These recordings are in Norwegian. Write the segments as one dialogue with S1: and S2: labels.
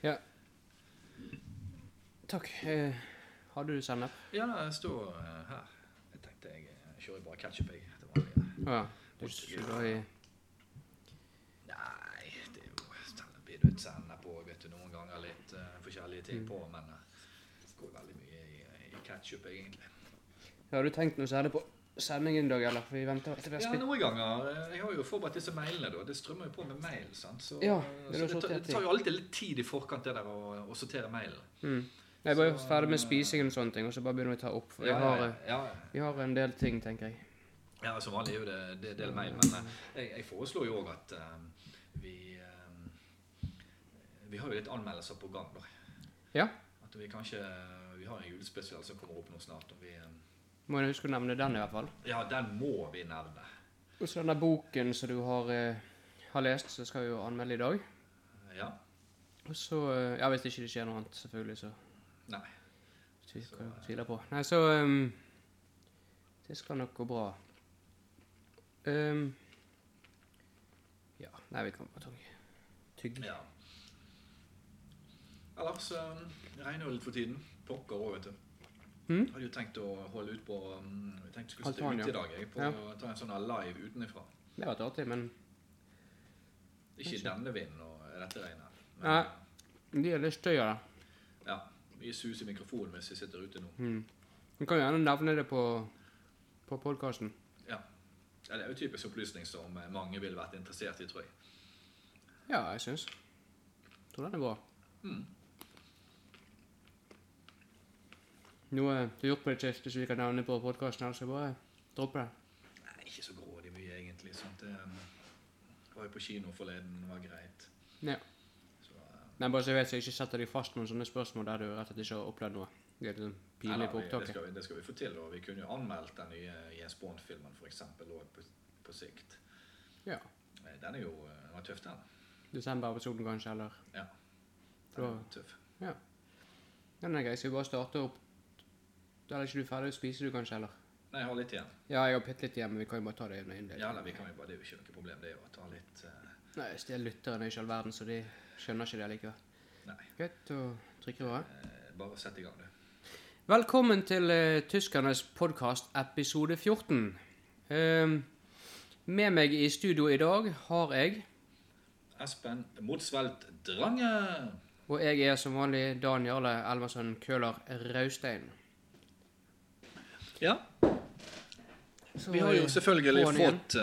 S1: Ja. Takk. Eh, har du sennep?
S2: Ja, det står eh, her. Jeg tenkte jeg eh, kjører bare ketchup, jeg. til vanlig.
S1: Å ja. Du skulle i
S2: Nei, det er jo sennep i dødt sennep på, vet du, noen ganger litt eh, forskjellige
S1: Mm.
S2: ting på, men eh, det går veldig mye i, eh, i ketchup, egentlig.
S1: Har du tenkt noe særlig på sendingen i dag, eller? For vi venter til vi har
S2: Ja,
S1: spilt
S2: noen ganger. eh, Jeg har jo forberedt disse mailene, da. Det strømmer jo på med mail, sant. Så,
S1: Ja,
S2: eh,
S1: det er
S2: så
S1: jo
S2: det, tar,
S1: sortert
S2: det tar jo alltid litt tid i forkant, det der å, å sortere mailen.
S1: mm. Nei, bare
S2: Så,
S1: ferdig med
S2: eh,
S1: spisingen og sånne ting, og så bare begynner vi å ta opp. For vi,
S2: Ja,
S1: har,
S2: ja,
S1: eh,
S2: ja, ja.
S1: vi har en del ting, tenker jeg.
S2: Ja, som vanlig er jo det, det er del mail, men eh, jeg, jeg foreslår jo òg at eh, vi eh, Vi har jo litt anmeldelser på gang, da.
S1: Ja.
S2: At vi kanskje Vi har en julespesial som kommer opp nå snart. Og vi, eh,
S1: Må jo huske å nevne den, i hvert fall.
S2: ja, den må vi nevne.
S1: Og så denne boken som du har, eh, har lest, så skal vi jo anmelde i dag.
S2: Ja.
S1: Og så eh, Ja, hvis ikke det skjer noe annet, selvfølgelig, så
S2: Nei.
S1: tviler
S2: Så, eh,
S1: hva jeg tviler på. Nei, så ehm, Det skal nok gå bra. Ehm, ja. Nei, vi kan bare tygge. Tygge.
S2: Ja. Ellers eh, regner jo litt for tiden. Pokker òg, vet du.
S1: Mm.
S2: Hadde jo tenkt å holde ut på um, Jeg tenkte jeg skulle sitte
S1: Altan, ja.
S2: ute i dag. Jeg, på
S1: Ja.
S2: å Ta en sånn her live utenfra.
S1: Det har vært artig, men
S2: Ikke i denne vinden og dette regnet.
S1: Nei. de er litt støy av det.
S2: Ja. Mye sus i mikrofonen mens vi sitter ute nå.
S1: Mm. Du kan jo gjerne nevne det på, på podkasten.
S2: Ja. ja. Det er jo typisk opplysning som eh, mange ville vært interessert i, tror jeg.
S1: Ja, jeg syns. Tror den er bra.
S2: Mm.
S1: Noe du har gjort på det siste som vi kan nevne på podkasten, altså bare droppe det.
S2: Nei, ikke så grådig mye, egentlig. Sant? Det eh, var jo på kino forleden, det var greit.
S1: Ja.
S2: Så, eh,
S1: Nei, bare så jeg vet, så jeg ikke setter deg fast noen sånne spørsmål der du rett og slett ikke har opplevd noe. Det er litt sånn pinlig
S2: eller,
S1: på
S2: vi- Det
S1: opptaket.
S2: skal, vi, det skal vi få til. Og vi kunne jo anmeldt den nye Jens Bond-filmen, f.eks., òg på, på sikt.
S1: Ja.
S2: Eh, Den er jo eh, den var tøff, den.
S1: Desember-episoden kanskje, eller
S2: Ja. Den
S1: Ja.
S2: var tøff.
S1: Ja, nei, greit. Skal vi bare starte opp? Eller er ikke du ferdig å spise, du kanskje, eller?
S2: Nei, jeg har litt igjen.
S1: Ja, jeg har bitte litt igjen, men vi kan jo bare ta det med
S2: Ja,
S1: innledning.
S2: eller, vi kan jo bare, Det er jo ikke noe problem, det er jo å ta litt eh,
S1: Nei, hvis det er lytterne i all verden, så de skjønner ikke det likevel.
S2: Nei.
S1: Greit, og trykker over.
S2: eh, Bare sett i gang, du.
S1: Velkommen til eh, Tyskernes podkast episode 14. Ehm, med meg i studio i dag har jeg,
S2: Espen Motsvelt Drange.
S1: og jeg er som vanlig Dan Jarle Elversson Køhler Raustein.
S2: Ja,
S1: Så,
S2: vi har jo
S1: eh,
S2: selvfølgelig
S1: på'n igjen.
S2: fått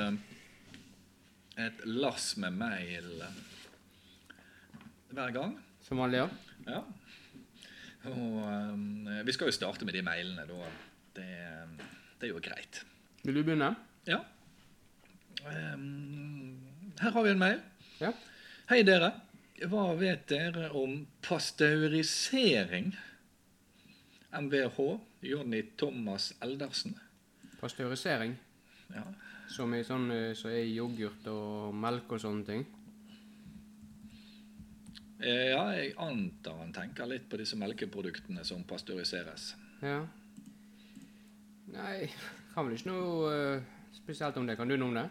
S2: eh, et lass med mail eh, hver gang.
S1: Som vanlig, ja.
S2: Ja. Og eh, vi skal jo starte med de mailene, da. Det, det er jo greit.
S1: Vil du begynne?
S2: Ja. Eh, her har vi en mail.
S1: Ja.
S2: Hei, dere. Hva vet dere om pasteurisering? MVH, Jonny Thomas Eldersen.
S1: Pasteurisering,
S2: Ja.
S1: som i sånn eh, så er i yoghurt og melk og sånne ting.
S2: Eh, Ja, jeg antar han tenker litt på disse melkeproduktene som pasteuriseres.
S1: Ja. Nei, kan vel ikke noe eh, spesielt om det. Kan du noe om det?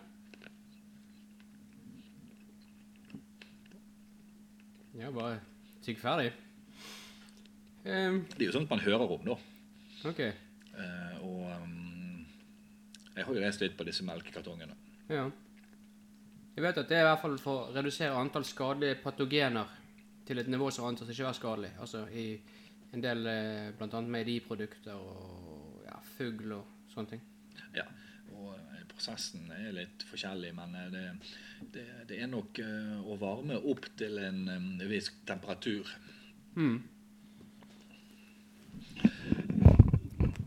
S1: Ja, bare tygg ferdig. Ehm,
S2: Det er jo sånt man hører om, da.
S1: ok.
S2: Eh, Og um, jeg har jo lest litt på disse melkekartongene.
S1: Ja. Jeg vet at det er i hvert fall for å redusere antall skadelige patogener til et nivå som antas ikke å være skadelig. Altså i en del eh, blant annet meieriprodukter og ja, fugl og sånne ting.
S2: Ja, og eh, prosessen er litt forskjellig, men eh, det, det, det er nok eh, å varme opp til en eh, viss temperatur.
S1: Mm.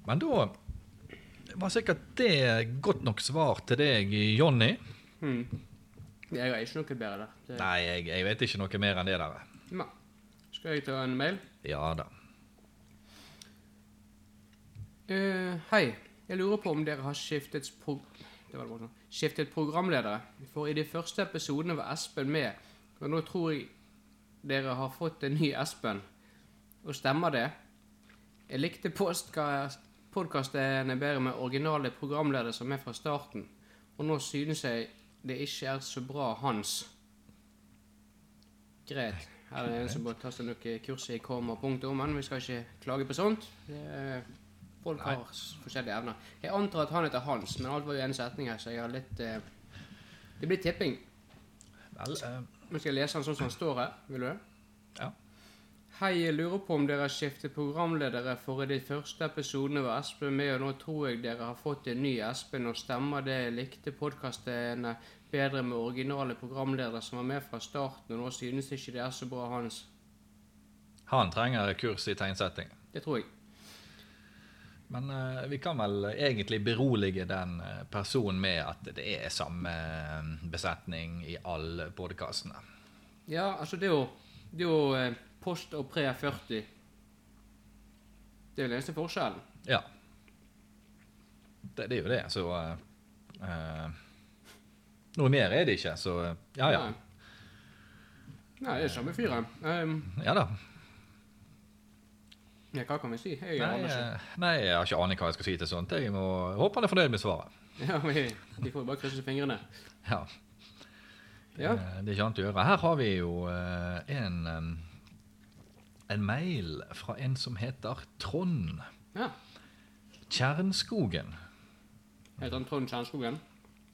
S2: Men da var sikkert det godt nok svar til deg, Jonny.
S1: Mm. Jeg har ikke noe bedre der. Det,
S2: Nei, jeg, jeg vet ikke noe mer enn det der.
S1: Nei. Skal jeg ta en mail?
S2: Ja da.
S1: Eh, hei. Jeg lurer på om dere har skiftet, pro det var det bare sånn. skiftet programledere. For i de første episodene var Espen med, og nå tror jeg dere har fått en ny Espen. Og stemmer det? Jeg likte podkastene bedre med originale programledere som er fra starten, og nå synes jeg det ikke er så bra hans. Greit. Her er det en som bør ta seg noe kurs i komma og punktum, men vi skal ikke klage på sånt. Det er, folk
S2: Nei.
S1: har s- forskjellige evner. Jeg antar at han heter Hans, men alt var jo en setning her, så jeg har litt eh, Det blir tipping.
S2: Vel, eh,
S1: Nå skal jeg lese den sånn som den står her. Vil du det?
S2: Ja.
S1: Hei, jeg lurer på om dere har skiftet programledere for i de første episodene var Espen med, og nå tror jeg dere har fått en ny Espen, og stemmer det likte podkastene bedre med originale programledere som var med fra starten, og nå synes ikke det er så bra, Hans.
S2: han trenger kurs i tegnsetting.
S1: Det tror jeg.
S2: Men eh, vi kan vel egentlig berolige den eh, personen med at det er samme eh, besetning i alle podkastene.
S1: Ja, altså det er jo, det er jo eh, post og pre 40. Det er vel eneste forskjellen.
S2: Ja. Det, det er jo det, så eh, eh, Noe mer er det ikke, så eh, ja ja.
S1: Nei. Nei, det er samme fyren. Um,
S2: Ja da.
S1: ja, hva kan vi si? Jeg
S2: Nei,
S1: aner ikke.
S2: eh, nei, jeg har ikke aning hva jeg skal si til sånt. Jeg må jeg håper han er fornøyd med svaret.
S1: Ja, vi, vi får bare krysse fingrene.
S2: Ja,
S1: Ja.
S2: Det, det er ikke annet å gjøre. Her har vi jo eh, en eh, en mail fra en som heter Trond
S1: ja.
S2: Kjernskogen.
S1: Heter han Trond Kjernskogen?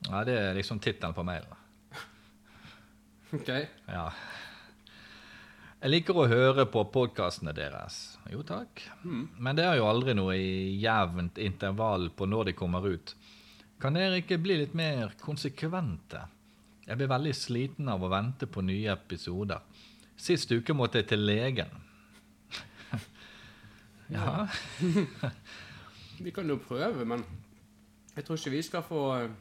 S2: Ja, Det er liksom tittelen på mailen.
S1: Ok.
S2: Ja. Jeg liker å høre på podkastene deres. Jo takk. Men det er jo aldri noe i jevnt intervall på når de kommer ut. Kan dere ikke bli litt mer konsekvente? Jeg blir veldig sliten av å vente på nye episoder. Sist uke måtte jeg til legen. ja.
S1: Vi kan jo prøve, men jeg tror ikke vi skal få eh,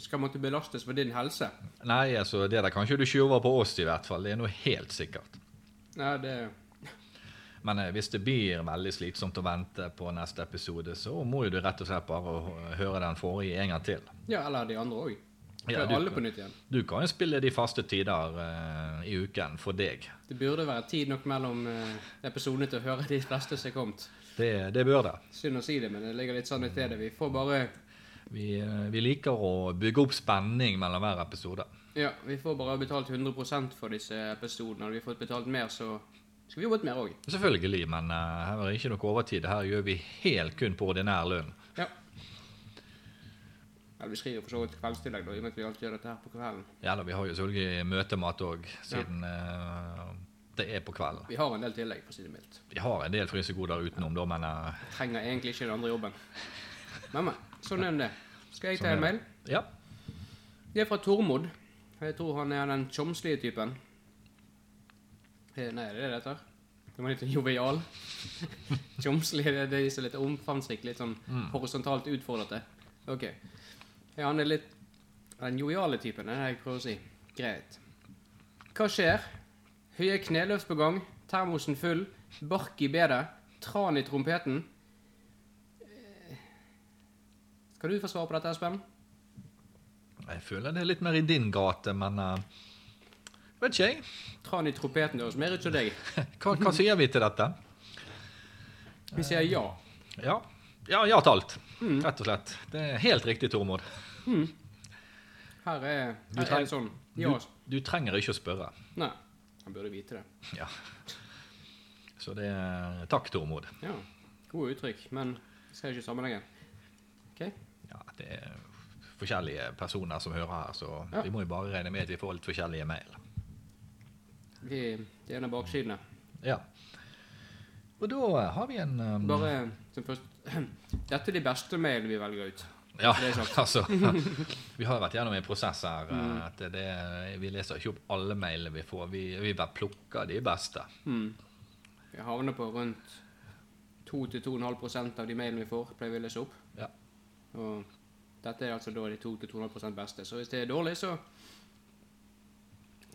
S1: Skal måtte belastes for din helse.
S2: Nei, altså, det der kan ikke du skyve over på oss, i hvert fall. Det er noe helt sikkert.
S1: Nei, det
S2: Men eh, hvis det blir veldig slitsomt å vente på neste episode, så må jo du rett og slett bare h- høre den forrige en gang til.
S1: Ja, eller de andre òg.
S2: Ja,
S1: Prøv
S2: du-
S1: alle på nytt igjen.
S2: Du kan jo spille de faste tider eh, i uken for deg.
S1: Det burde være tid nok mellom eh, episodene til å høre de fleste som er kommet.
S2: Det, det bør det.
S1: Synd å si det, men det ligger litt sånn i det. Vi får bare
S2: Vi, eh, vi liker å bygge opp spenning mellom hver episode.
S1: Ja, vi får bare betalt 100 for disse episodene. Hadde vi fått betalt mer, så skulle vi jobbet mer òg.
S2: Selvfølgelig, men eh, her er det ikke noe overtid. Her gjør vi helt kun på ordinær lønn.
S1: Ja. Eller vi skriver for så vidt kveldstillegg, da, i og med at vi alltid gjør dette her på kvelden.
S2: Ja, da, vi har jo selvfølgelig møtemat òg, siden eh, det er på kvelden.
S1: Vi har en del tillegg, for å si det mildt.
S2: Vi har en del frysegoder utenom, da, men eh,
S1: Trenger egentlig ikke den andre jobben. Men, men. Sånn er det. Skal jeg ta en mail?
S2: ja.
S1: Det er fra Tormod. Jeg tror han er den tjomslige typen. Eh, Nei, er det det dette? Han var litt jovial. Tjomslig det er de som er litt omfangsrike, litt sånn horisontalt utfordrete. Ok. Ja, han er litt den joviale typen, det er det jeg prøver å si. Greit. Hva skjer? Høye kneløft på gang, termosen full, bark i bedet, tran i trompeten. Eh, Skal du få svare på dette, Espen?
S2: Jeg føler det er litt mer i din gate, men eh, Vet ikke jeg.
S1: Tran i trompeten, det høres mer ut som deg.
S2: Hva, hva sier vi til dette?
S1: Vi sier ja.
S2: Ja. Ja, ja til alt.
S1: Mm.
S2: Rett og slett. Det er helt riktig, Tormod.
S1: Her er,
S2: Du
S1: her
S2: tar-
S1: er det sånn.
S2: Du,
S1: Ja.
S2: du trenger ikke å spørre.
S1: Nei. Han burde vite det.
S2: Ja. Så det er Takk, Tormod.
S1: Ja. Gode uttrykk, men jeg ser ikke sammenhengen. Ok?
S2: Ja, det er forskjellige personer som hører her, så
S1: Ja.
S2: vi må jo bare regne med at vi får litt forskjellige mail.
S1: Vi, det er en av baksidene.
S2: Ja. Og da har vi en eh,
S1: Bare som først Dette er de beste mailene vi velger ut.
S2: Ja,
S1: Det er Mm. sant.
S2: altså. Vi har vært gjennom en prosess her. eh, At det, vi leser ikke opp alle mailene vi får. Vi, vi bare plukker de beste.
S1: Vi havner på rundt 2-2,5 av de mailene vi får, pleier vi å lese opp.
S2: Ja.
S1: Og dette er altså da de 2-2,5 beste. Så hvis det er dårlig, så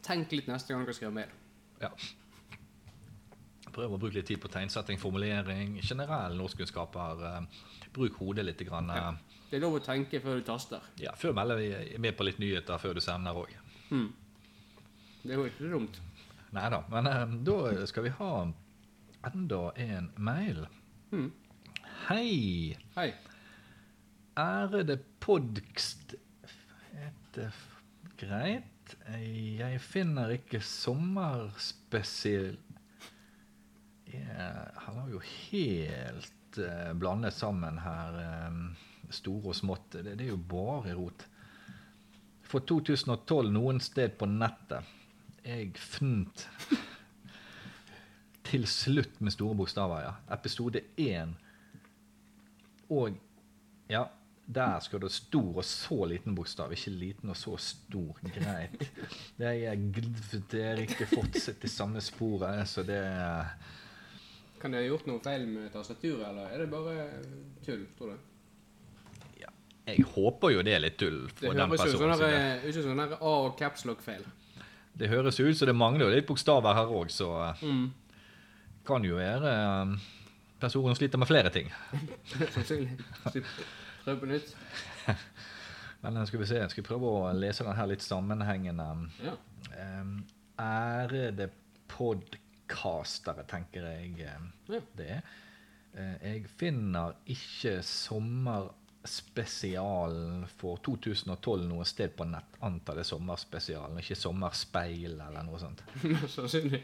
S1: tenk litt neste gang dere skriver mail.
S2: Ja. Prøv å bruke litt tid på tegnsetting, formulering, generelle norskkunnskaper. eh, Bruk hodet litt. Grann, eh.
S1: Det er lov å tenke før du taster.
S2: ja, før melder vi med på litt nyheter før du sender òg.
S1: Det er jo ikke dumt.
S2: Nei da. Men eh, da skal vi ha enda en mail.
S1: Mm.
S2: Hei!
S1: Hei.
S2: Ærede podkst... Et, eh, Greit. Jeg finner ikke sommerspesiell Jeg- Han har jo helt eh, blandet sammen her eh, store og smått. Det, det er jo bare rot. For 2012 noen sted på nettet. Jeg fant til slutt med store bokstaver, ja. Episode 1. Og ja, der skal det stor og så liten bokstav. Ikke liten og så stor. Greit. Det er, gl- det er ikke fortsatt i samme sporet, så det er
S1: Kan dere ha gjort noe feil med tastaturet, eller er det bare tull, tror du?
S2: Jeg håper jo det er litt tull
S1: Det
S2: for den
S1: høres jo
S2: personen.
S1: sånn
S2: som det.
S1: der- ut som sånn der A- og capslock-feil.
S2: det høres jo ut som det mangler jo litt bokstaver her òg, så eh,
S1: Mm.
S2: kan jo være eh, personen sliter med flere ting.
S1: Sannsynlig. Så Prøv på nytt.
S2: Men eh, skal vi se, jeg skal prøve å lese den her litt sammenhengende.
S1: Ja.
S2: Um, ærede podkastere, tenker jeg um,
S1: Ja.
S2: det er. Eh, Jeg finner ikke sommerspesialen for 2012 noe sted på nett. Antar det er sommerspesialen, ikke sommerspeil eller noe sånt.
S1: Sannsynlig.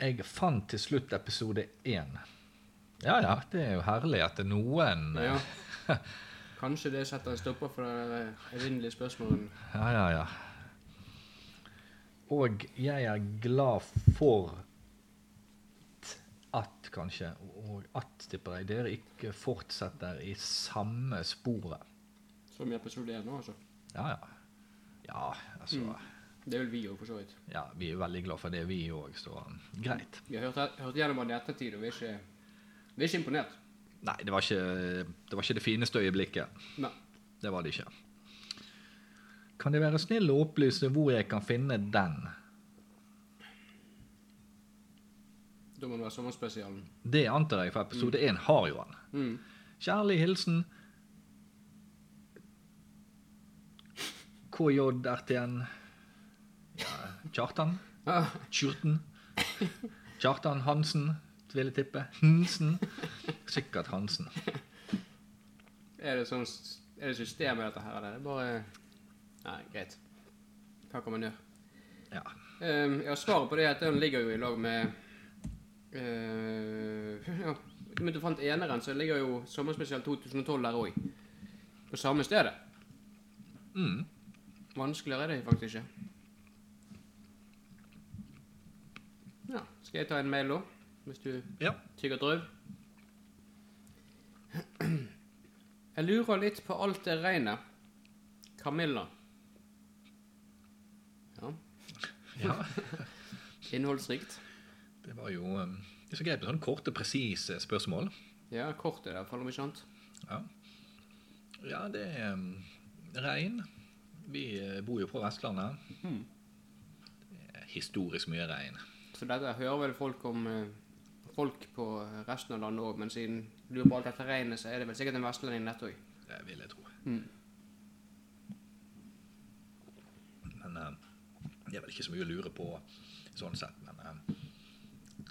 S2: Jeg fant til slutt episode én. Ja ja, det er jo herlig at det er noen eh,
S1: Ja. Kanskje det setter en stopper for det der eh, evinnelige spørsmålet.
S2: Ja, ja, ja. Og jeg er glad for t- at, kanskje, og at, tipper jeg, dere ikke fortsetter i samme sporet.
S1: Som i episode 1 nå, altså.
S2: Ja, ja. Ja, altså,
S1: Det vil vi jo for så vidt.
S2: ja, vi er veldig glad for det, vi òg, så greit.
S1: Vi har hørt, hørt gjennom den i ettertid, og vi er ikke, vi er ikke imponert.
S2: Nei, det var ikke det, var ikke det fineste øyeblikket.
S1: Nei.
S2: Det var det ikke. Kan De være snill å opplyse hvor jeg kan finne den?
S1: Da må det være sommerspesialen.
S2: Det antar jeg, for episode én har jo den.
S1: Mm.
S2: Kjærlig hilsen KJRTN ja, Kjartan?
S1: Ah,
S2: Kjurten? Kjartan Hansen, vil jeg tippe. Hansen? Sikkert Hansen.
S1: er det sånn s- Er det system i dette her, eller er det bare Nei, greit. Hva kan man gjøre?
S2: Ja.
S1: Um, ja, svaret på det er at den ligger jo i lag med eh, ja, Men du fant eneren, så ligger jo Sommerspesial 2012 der òg. På samme stedet.
S2: Mm.
S1: Vanskeligere er det faktisk ikke. Ja, skal jeg ta en mail, da? Hvis du
S2: ja.
S1: tygger drøv? Jeg lurer litt på alt det regnet. Camilla. Ja,
S2: ja.
S1: innholdsrikt.
S2: Det var jo um, det er så greit med sånne korte, presise eh, spørsmål.
S1: Ja, kort er det iallfall, om ikke annet.
S2: Ja, ja det er um, regn. Vi eh, bor jo på Vestlandet. Det er historisk mye regn.
S1: Så dette hører vel folk om eh, folk på resten av landet òg, men siden du lurer på alt dette regnet, så er det vel sikkert en vestlending dette òg.
S2: Det vil jeg tro.
S1: Mm.
S2: Men eh, det er vel ikke så mye å lure på sånn sett. Men eh,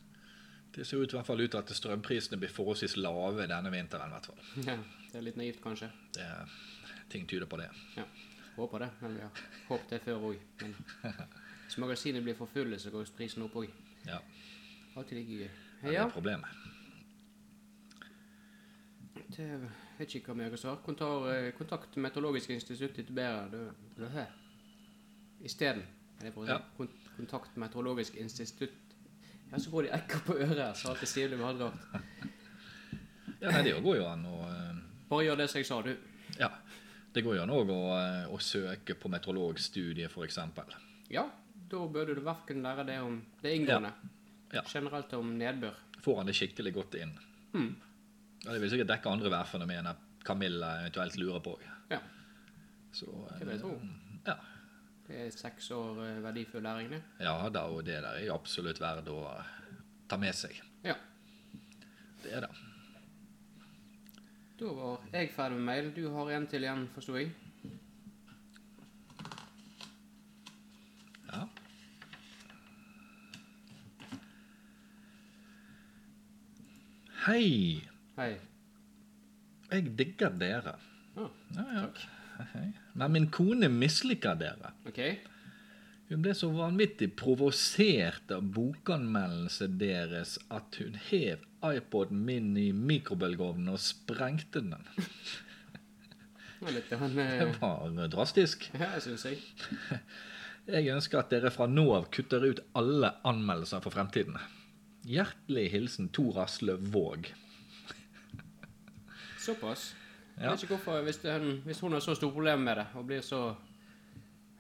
S2: det ser ut, i hvert fall ut til at strømprisene blir forholdsvis lave denne vinteren. i hvert fall.
S1: Ja, det er litt naivt, kanskje.
S2: Det, ting tyder på det.
S1: Ja, Håper det. Men vi har håpet det før òg. Men hvis magasinet blir for fulle, så går prisen opp òg.
S2: Ja,
S1: Alltid like gøy.
S2: Det
S1: Ja,
S2: er problemet.
S1: det vet ikke hva mer jeg kan svare. Kontar, eh, kontakt Meteorologisk institutt litt bedre. Isteden. Er det på å si?
S2: Ja.
S1: Kon- Kontakt Meteorologisk institutt. Ja, så får de ekko på øret, så alt det stivner blir halvgalt.
S2: Ja, nei, det går jo an å eh,
S1: Bare gjør det som jeg sa, du.
S2: Ja. Det går jo an òg å, eh, å søke på meteorologstudiet, f.eks.
S1: Ja, da burde du hverken lære det om det inngående.
S2: Ja.
S1: Generelt om nedbør. Hm,
S2: får han det skikkelig godt inn. Ja, det vil sikkert dekke andre værfenomener Camilla eventuelt lurer på.
S1: Ja.
S2: Så, eh,
S1: Det vil jeg tro.
S2: Ja.
S1: Det er seks år eh, verdifull læring, det.
S2: ja da, og det der er jo absolutt verdt å ta med seg.
S1: Ja.
S2: Det er det.
S1: Da var jeg ferdig med mail. Du har en til igjen, forsto jeg.
S2: Ja. Hei!
S1: Hei.
S2: Jeg digger dere.
S1: Ja, Ah,
S2: Ja, ja. Men min kone misliker dere.
S1: OK?
S2: Hun ble så vanvittig provosert av bokanmeldelsen deres at hun hev iPoden min i mikrobølgeovnen og sprengte den.
S1: Det var litt av en
S2: Det
S1: eh,
S2: var drastisk.
S1: Ja, jeg syns jeg.
S2: Jeg ønsker at dere fra nå av kutter ut alle anmeldelser for fremtiden. Hjertelig hilsen Tor Asle Våg.
S1: Såpass. Jeg
S2: Ja.
S1: vet ikke hvorfor, hvis, det, hvis hun har så store problemer med det, og blir så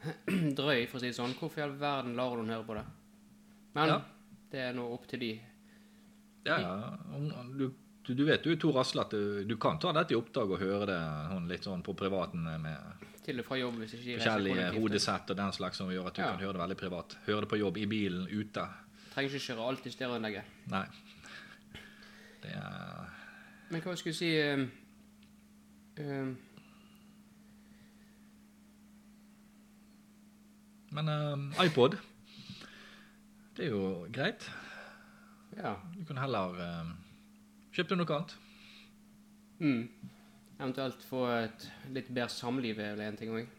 S1: drøy, for å si det sånn, hvorfor i all verden lar hun høre på det? Men
S2: Ja.
S1: det er nå opp til de.
S2: Ja, ja. Om- Du, du- du vet jo, Tor Asle, at du, du kan ta dette i oppdrag og høre det hun litt sånn på privaten med
S1: Til og fra jobb, hvis ikke de
S2: forskjellige
S1: kollektivt.
S2: hodesett og den slags som gjør at du
S1: Ja.
S2: kan høre det veldig privat. Høre det på jobb, i bilen, ute.
S1: Trenger ikke kjøre alt i stereoanlegget.
S2: Nei. Det er
S1: Men hva skulle jeg si eh, eh,
S2: Men eh, iPod, det er jo greit.
S1: Ja.
S2: Du kan heller uh, kjøpe deg noe annet.
S1: Mm. Eventuelt få et litt bedre samliv er vel en ting òg.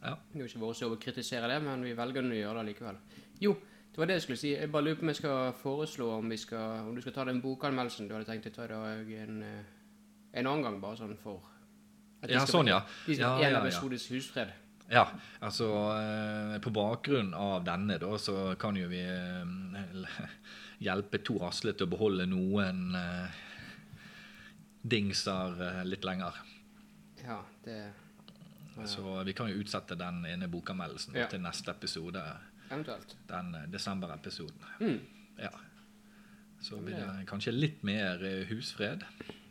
S2: Ja.
S1: Det er jo ikke vår jobb å kritisere det, men vi velger nå å gjøre det likevel. Jo, det var det jeg skulle si. Jeg bare lurer på om jeg skal foreslå om, vi skal, om du skal ta den bokanmeldelsen du hadde tenkt å ta i dag en, eh, en annen gang, bare sånn for at de
S2: Ja,
S1: skal-
S2: sånn, ja.
S1: De
S2: Ja,
S1: skal
S2: ja,
S1: en
S2: ja.
S1: episodes husfred.
S2: Ja, altså eh, På bakgrunn av denne, da, så kan jo vi eh, hjelpe Tor Asle til å beholde noen eh, dingser eh, litt lenger.
S1: Ja, det
S2: Så vi kan jo utsette den ene bokanmeldelsen
S1: Ja.
S2: til neste episode.
S1: Eventuelt.
S2: Den eh, desember-episoden.
S1: Mm.
S2: Ja. Så blir det kanskje litt mer eh, husfred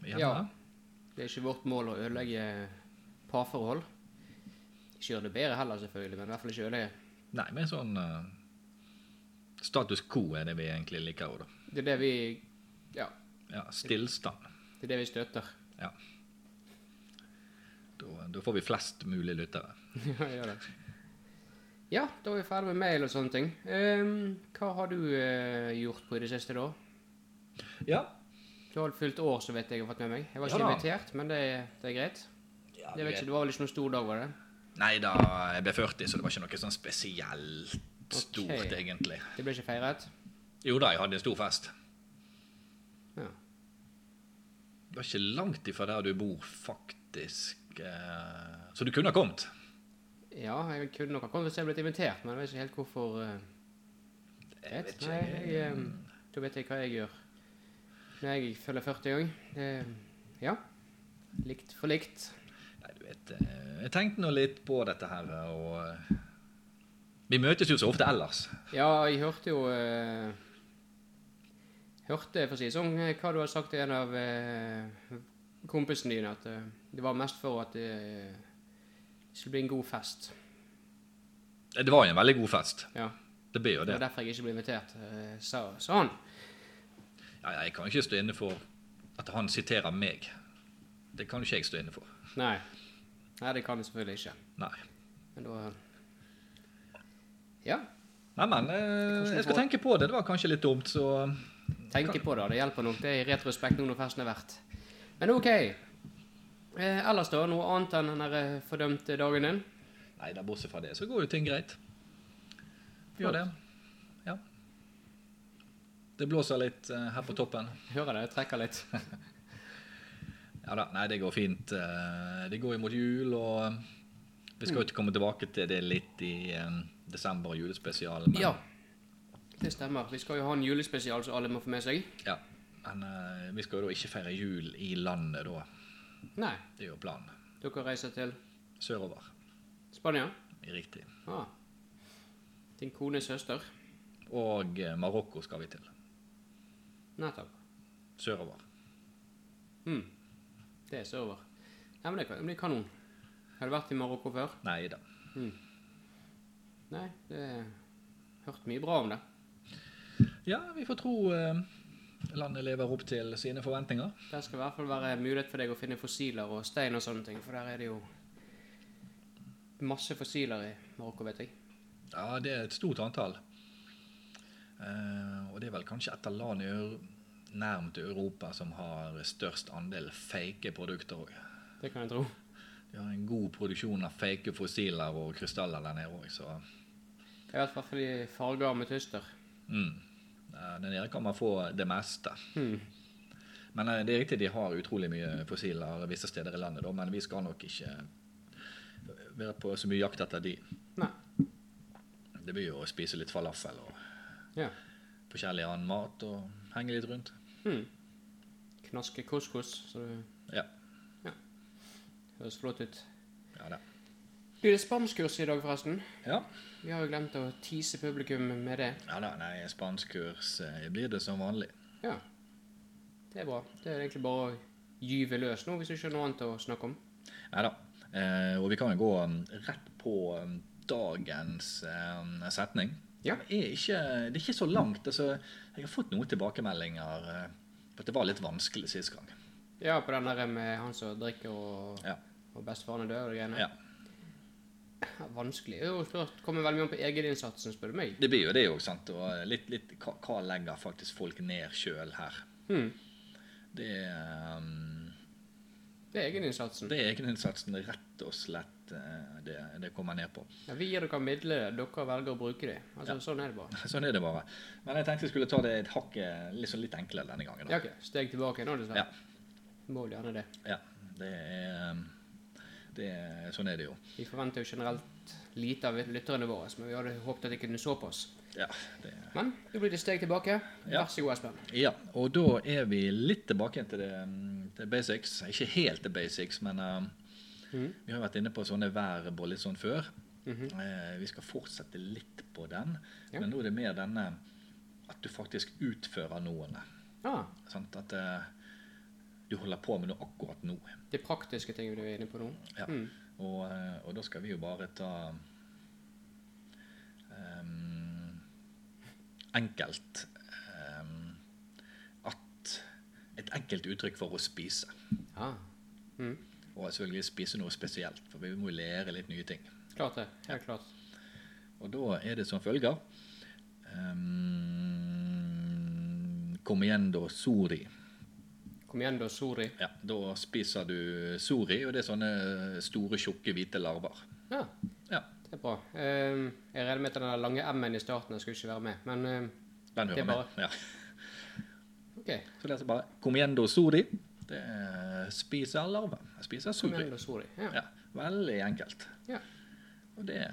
S2: igjen.
S1: Ja.
S2: da.
S1: Det er ikke vårt mål å ødelegge parforhold. Ikke gjøre det bedre heller, selvfølgelig, men i hvert fall ikke ødelegge.
S2: Nei, men sånn eh, Status quo er det vi egentlig liker òg, da.
S1: Det er det vi Ja.
S2: Ja, stillstand.
S1: Det er det vi støtter.
S2: Ja. Da, da får vi flest mulig lyttere.
S1: ja, gjør det. Ja, da er vi ferdig med mail og sånne ting. Ehm, hva har du eh, gjort på i det siste, da?
S2: Ja.
S1: Du har fylt år, så vet jeg jeg har fått med meg. Jeg var
S2: Ja
S1: ikke
S2: da.
S1: invitert, men det, er- det er greit.
S2: ja
S1: Det, vet ikke, det var vel ikke noen stor dag, var det?
S2: Nei da, jeg ble 40, så det var ikke noe sånn spesielt stort,
S1: Ok.
S2: egentlig.
S1: Det ble ikke feiret?
S2: Jo da, jeg hadde en stor fest.
S1: Ja.
S2: Det var ikke langt ifra der du bor, faktisk. eh, Så du kunne ha kommet.
S1: ja, jeg kunne nok ha kommet hvis jeg ble invitert, men jeg vet ikke helt hvorfor. eh,
S2: Jeg vet
S1: Nei,
S2: ikke. Eh,
S1: jeg, ehm, da vet jeg hva jeg gjør. Når jeg følger 40 gang. Det- ja. Likt for likt.
S2: Nei, du vet, eh, jeg tenkte nå litt på dette her, og eh, Vi møtes jo så ofte ellers.
S1: Ja, jeg hørte jo eh, Hørte, for å si det sånn, eh, hva du har sagt til en av eh, kompisene dine. At eh, det var mest for at eh, det skulle bli en god fest.
S2: Eh, Det var jo en veldig god fest.
S1: Ja,
S2: Det ble jo
S1: Det
S2: det.
S1: var derfor jeg ikke ble invitert, eh, sa, sa han.
S2: Ja, jeg kan ikke stå inne for at han siterer meg. Det kan ikke jeg stå inne for.
S1: Nei. Nei, det kan jeg selvfølgelig ikke.
S2: Nei.
S1: Men da Ja.
S2: Nei, men eh, jeg skal tenke på det. Det var kanskje litt dumt, så
S1: Tenke på det. Det hjelper nok. Det er i retrospekt nå når festen er verdt. Men OK. Eh, ellers, da? Noe annet enn den der eh, fordømte dagen din?
S2: Nei da, bortsett fra det, så går jo ting greit. Gjør det. Ja. Det blåser litt eh, her på toppen.
S1: Hører det, jeg trekker litt.
S2: Ja da, nei, det går fint. Eh, det går jo mot jul, og eh, vi skal jo ikke komme tilbake til det litt i eh, desember og julespesialen, men,
S1: Ja. Det stemmer. Vi skal jo ha en julespesial som alle må få med seg.
S2: ja. men eh, vi skal jo da ikke feire jul i landet da.
S1: Nei.
S2: Det er jo planen.
S1: Dere reiser til
S2: Sørover.
S1: Spania?
S2: Riktig.
S1: Ah. Din kones søster?
S2: Og eh, Marokko skal vi til.
S1: Nettopp.
S2: Sørover.
S1: Mm. Det er server. Nei, men det kan det blir kanon. Har du vært i Marokko før?
S2: Nei da.
S1: Nei, det Hørt mye bra om det.
S2: Ja, vi får tro eh, landet lever opp til sine forventninger.
S1: Der skal i hvert fall være mulighet for deg å finne fossiler og stein og sånne ting, for der er det jo masse fossiler i Marokko, vet jeg.
S2: Ja, det er et stort antall. Eh, og det er vel kanskje et av landene i Eur- nærmt Europa som har størst andel fake produkter òg.
S1: Det kan jeg tro.
S2: Det Vi har en god produksjon av fake fossiler og krystaller der nede òg, så
S1: I hvert fall fordi farger og ametyster.
S2: mm. Eh, Der nede kan man få det meste.
S1: Hmm.
S2: Men eh, det er riktig, de har utrolig mye fossiler visse steder i landet, da, men vi skal nok ikke være på så mye jakt etter de.
S1: Nei.
S2: Det blir jo å spise litt falafel og
S1: Ja.
S2: forskjellig annen mat og henge litt rundt.
S1: Mm. Knaske couscous, så det
S2: Ja.
S1: høres flott ut.
S2: Ja, det.
S1: Du, det er spanskurs i dag, forresten.
S2: Ja.
S1: Vi har jo glemt å tease publikum med det.
S2: ja da, nei, spanskkurs eh, blir det som vanlig.
S1: Ja. Det er bra. Det er egentlig bare å gyve løs nå, hvis du ikke har noe annet å snakke om.
S2: Nei da. Eh, og vi kan jo gå um, rett på um, dagens um, setning.
S1: Ja.
S2: Det, er ikke, det er ikke så langt. Altså, jeg har fått noen tilbakemeldinger eh, på at det var litt vanskelig sist gang.
S1: Ja, på den der med han som drikker og,
S2: Ja.
S1: og bestefaren er død og de greiene.
S2: Ja.
S1: Vanskelig. Det er jo spørt, kommer veldig mye an på egeninnsatsen, spør du meg.
S2: Det blir jo det òg, sant. Og eh, litt, litt hva, hva legger faktisk folk ned sjøl her?
S1: Hmm.
S2: Det er, um,
S1: Det er egeninnsatsen.
S2: det er egeninnsatsen rett og slett eh, det, det kommer ned på.
S1: Ja, vi gir dere midler, dere velger å bruke dem. Altså, Sånn er det bare.
S2: Sånn er det bare. Men jeg tenkte jeg skulle ta det et hakk eh, liksom litt enklere denne gangen.
S1: Ja,
S2: Da.
S1: ok. Steg tilbake nå, dessverre.
S2: Ja.
S1: Må gjerne det.
S2: Ja, det er, um, det er, sånn er det jo.
S1: Vi forventer jo generelt lite av lytterne våre, men vi hadde håpet at de kunne så på oss.
S2: Ja, det,
S1: Men da blir det steg tilbake.
S2: Ja.
S1: Vær så god, Espen.
S2: ja, og da er vi litt tilbake igjen til det, um, til basics. Ikke helt til basics, men um,
S1: Mhm.
S2: vi har jo vært inne på sånne verb og litt sånn før. Eh, vi skal fortsette litt på den,
S1: Ja.
S2: men nå er det mer denne at du faktisk utfører noe.
S1: Ah,
S2: Sant? At eh, du holder på med noe akkurat nå.
S1: de praktiske tingene du er inne på nå.
S2: Ja.
S1: Mm.
S2: Og, eh, og da skal vi jo bare ta ehm, enkelt ehm, at Et enkelt uttrykk for å spise.
S1: Ja. Mm.
S2: Og selvfølgelig spise noe spesielt, for vi må jo lære litt nye ting.
S1: Klart det. Helt klart.
S2: Og da er det som følger ehm, Kom igjen, da, sori.
S1: Kom igjen, da, sorry.
S2: Ja, da spiser du sori, og det er sånne store, tjukke, hvite larver.
S1: Ja,
S2: Ja,
S1: det er bra. Ehm, jeg regner med at den der lange M-en i starten jeg skulle ikke være med, men ehm,
S2: den
S1: Det er
S2: hører
S1: bare-
S2: med. Ja.
S1: OK.
S2: Så leser jeg bare 'comiendo suri'. Det er spiser larve. Spiser
S1: Kom
S2: suri.
S1: igjen, da, sorry. Ja.
S2: Ja, veldig enkelt.
S1: Ja.
S2: Og det,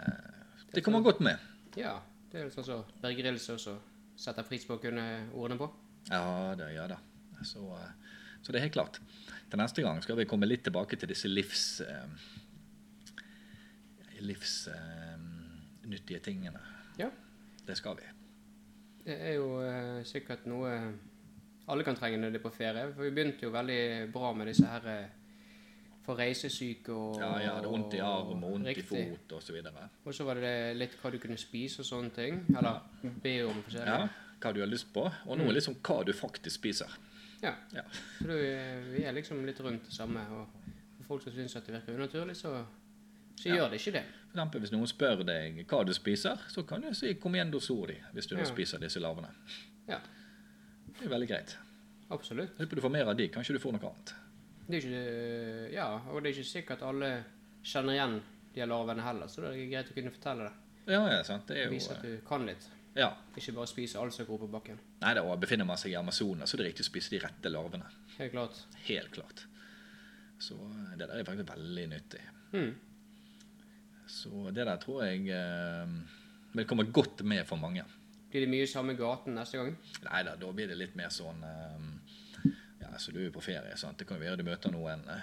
S2: det kommer godt med.
S1: ja. Det er litt sånn som Berger Ilse også setter pris på å kunne ordene på.
S2: Ja da, ja da. Så, eh, så det er helt klart. Til neste gang skal vi komme litt tilbake til disse livs... Eh, livsnyttige eh, tingene.
S1: Ja.
S2: Det skal vi.
S1: Det er jo eh, sikkert noe alle kan trenge når de er på ferie. For vi begynte jo veldig bra med disse her eh, for reisesyke og
S2: Ja, ja, det er vondt i arm og vondt i
S1: Riktig.
S2: fot og så videre.
S1: Og så var det litt hva du kunne spise og sånne ting. Eller be om
S2: Ja,
S1: forskjellig.
S2: hva du har lyst på, og
S1: Mm.
S2: nå liksom hva du faktisk spiser.
S1: Ja.
S2: Ja.
S1: Så du, eh, vi er liksom litt rundt det samme. Og for folk som syns at det virker unaturlig, så, så
S2: Ja.
S1: gjør det ikke det.
S2: For eksempel hvis noen spør deg hva du spiser, så kan du si 'kom igjen, da sori', hvis du da
S1: Ja.
S2: spiser disse larvene.
S1: Ja,
S2: Det er veldig greit.
S1: absolutt.
S2: Håper du får mer av de, kanskje du får noe annet.
S1: Det er ikke, ja, og det er ikke sikkert alle kjenner igjen de her larvene heller, så det er greit å kunne fortelle det.
S2: Ja, ja, sant. Det er
S1: Vise
S2: jo eh,
S1: at du kan litt.
S2: Ja.
S1: Ikke bare spise alt som går på bakken.
S2: Nei, da befinner man seg i Amazonas, så det er riktig å spise de rette larvene.
S1: Helt klart.
S2: Helt klart. Så eh, det der er faktisk veldig nyttig.
S1: Mm.
S2: Så det der tror jeg eh, vil komme godt med for mange.
S1: Blir det mye i samme gaten neste gang?
S2: Nei da, da blir det litt mer sånn eh, Ja, så du er jo på ferie, sant. Det kan jo være du møter noen eh,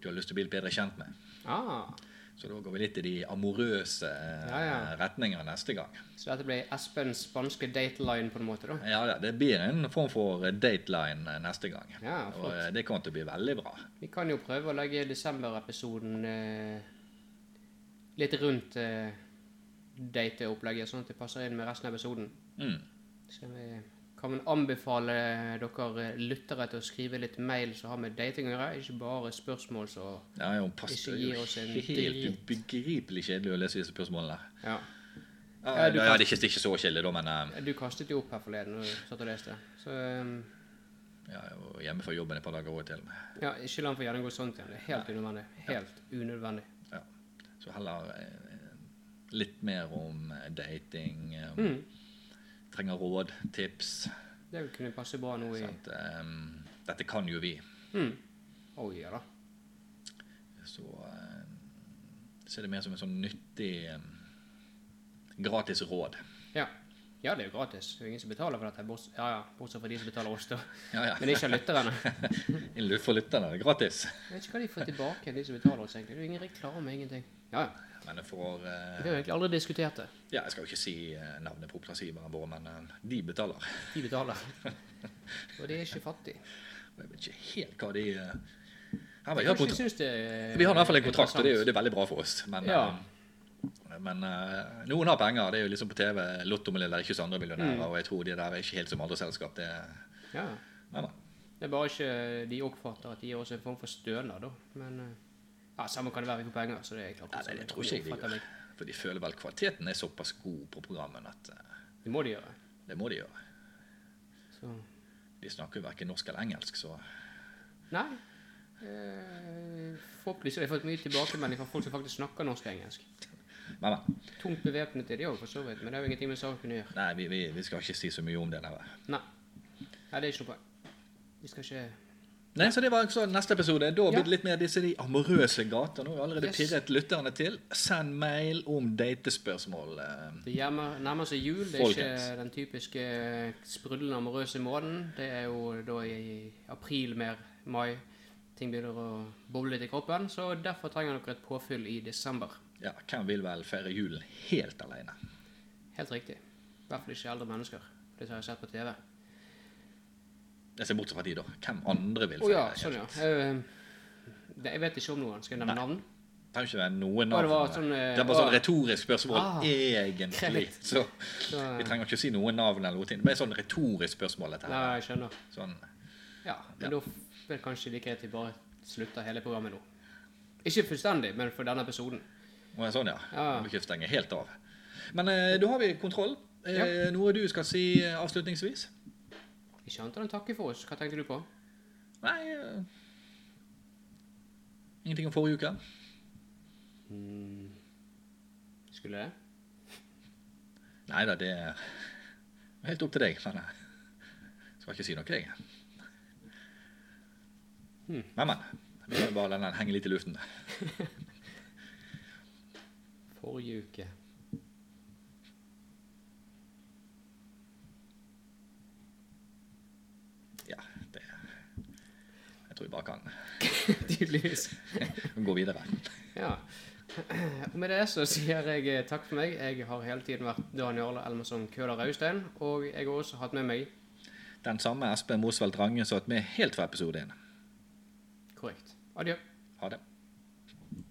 S2: du har lyst til å bli litt bedre kjent med.
S1: Ah,
S2: Så da går vi litt i de amorøse eh,
S1: Ja, ja.
S2: retninger neste gang.
S1: så dette ble Espens spanske dateline på en måte, da?
S2: Ja, ja, Det blir en form for dateline eh, neste gang.
S1: Ja,
S2: og eh, det kommer til å bli veldig bra.
S1: Vi kan jo prøve å legge desember-episoden eh, litt rundt eh, dateopplegget, sånn at det passer inn med resten av episoden.
S2: Mm.
S1: Så vi kan vel anbefale dere eh, lyttere til å skrive litt mail som har med dating å gjøre, ikke bare spørsmål så
S2: Ja, jo, pass,
S1: Ikke
S2: det
S1: gi
S2: er
S1: oss en
S2: jo helt
S1: drit.
S2: ubegripelig kjedelig å lese disse spørsmålene. her.
S1: Ja.
S2: Ja,
S1: Ja, du
S2: ja,
S1: kan-
S2: det er ikke, det er ikke så kjedelig, da, men eh,
S1: Du kastet jo opp her forleden når du satt og leste. Så eh,
S2: Ja, jeg var hjemme fra jobben et par dager òg til.
S1: Ja, ikke la sånn han få gjennomgå sånt igjen. Det er helt unødvendig. Helt unødvendig.
S2: Ja. Så heller eh, litt mer om eh, dating. eh, Om,
S1: Mm.
S2: Trenger råd, tips.
S1: Det kunne passe bra nå i
S2: Sant? Ehm, dette kan jo vi.
S1: mm. Å ja da.
S2: Så, eh, så er det mer som en sånn nyttig eh, gratis råd.
S1: Ja. ja, det er jo gratis. Det er jo ingen som betaler for dette. borts- Ja, ja, Bortsett fra de som betaler oss, da.
S2: Ja, ja.
S1: Men ikke av lytterne.
S2: Inn luft for lytterne. det er Gratis.
S1: Jeg vet ikke hva de får tilbake, de som betaler oss. egentlig. Det er jo ingen reklame, ingenting. Ja, ja.
S2: Men jeg får eh,
S1: Vi har jo egentlig aldri diskutert det.
S2: Ja, jeg skal jo ikke si eh, navnet på oppdragsgiverne våre, men eh, de betaler.
S1: De betaler. Og de er ikke fattige.
S2: Og Jeg vet ikke helt hva de eh, ja, men vi, har
S1: Kanskje
S2: kont-
S1: de syns det er
S2: vi har i hvert fall en kontrakt, og det er jo
S1: interessant.
S2: det er veldig bra for oss. Men,
S1: Ja.
S2: eh, men eh, noen har penger. Det er jo liksom på TV Lottomillionærer, ikke så andre millionærer. Og jeg tror de der er ikke helt som andre selskap. Det,
S1: Ja.
S2: nei, nei.
S1: Det er bare ikke de oppfatter at de gir oss en form for stønad, da. Men eh, ja, samme kan det være vi får penger, så det er klart.
S2: Nei, det, det tror ikke jeg de
S1: Oppfatter meg.
S2: gjør. For de føler vel kvaliteten er såpass god på programmen at eh,
S1: Det må de gjøre.
S2: det må de gjøre.
S1: Så.
S2: De snakker jo verken norsk eller engelsk, så
S1: Nei. Eh, forhåpentligvis har jeg fått mye tilbakemelding fra folk som faktisk snakker norsk og engelsk.
S2: Men, men.
S1: Tungt bevæpnet er de òg, for så vidt, men det er jo ingenting med saken å gjøre.
S2: Nei, vi, vi, vi skal ikke si så mye om det der.
S1: Nei. Nei, det er ikke noe poeng. Vi skal ikke
S2: Nei, så det var så neste episode. Da blir
S1: Ja.
S2: det litt mer disse de amorøse gater. Nå har vi allerede
S1: Yes.
S2: pirret lytterne til. Send mail om datespørsmål. eh,
S1: Det gjemmer- nærmer seg jul. Det er
S2: Folkens.
S1: ikke den typiske eh, sprudlende amorøse måneden. Det er jo da i april mer mai. Ting begynner å boble litt i kroppen. Så derfor trenger dere et påfyll i desember.
S2: Ja, hvem vil vel feire julen helt alene?
S1: Helt riktig. I hvert fall ikke eldre mennesker. Det har jeg sett på TV. Å
S2: Jeg ser bort fra de, da. Hvem andre vil feire?
S1: ja, sånn, ja. Eh, det, jeg vet ikke om noen. Skal jeg nevne navn?
S2: Det kan jo ikke være noen
S1: Å, det var
S2: navn.
S1: sånn, eh,
S2: det er bare
S1: å.
S2: sånn retorisk spørsmål,
S1: Ah,
S2: egentlig.
S1: greit.
S2: Så
S1: Så, eh,
S2: vi trenger ikke si noen navn eller noe. ting. Det er sånn retorisk spørsmål, dette
S1: nei,
S2: her.
S1: jeg skjønner.
S2: Sånn,
S1: Ja, men da f- er det kanskje like greit vi bare slutter hele programmet nå. Ikke fullstendig, men for denne episoden.
S2: Å, sånn, ja.
S1: Ja.
S2: Må ikke stenge helt av. Men eh, da har vi kontroll. Eh, Noe du skal si eh, avslutningsvis?
S1: Ikke annet enn å takke for oss. Hva tenkte du på?
S2: Nei eh, Ingenting om forrige uke.
S1: Mm. Skulle det?
S2: Nei da, det er helt opp til deg. Men jeg skal ikke si noe, jeg. Men, men. Vi må bare la den henge litt i luften.
S1: Forrige uke.
S2: Ja, det Jeg tror vi bare kan
S1: Tydeligvis.
S2: gå videre.
S1: Ja. Og med det så sier jeg eh, takk for meg. Jeg har hele tiden vært Dan Jarle Elmerson Køhler Raustein. Og jeg har også hatt med meg
S2: Den samme Espen Mosvald Range som har vært med helt fra episode én.
S1: Korrekt. Adjø.
S2: Ha det.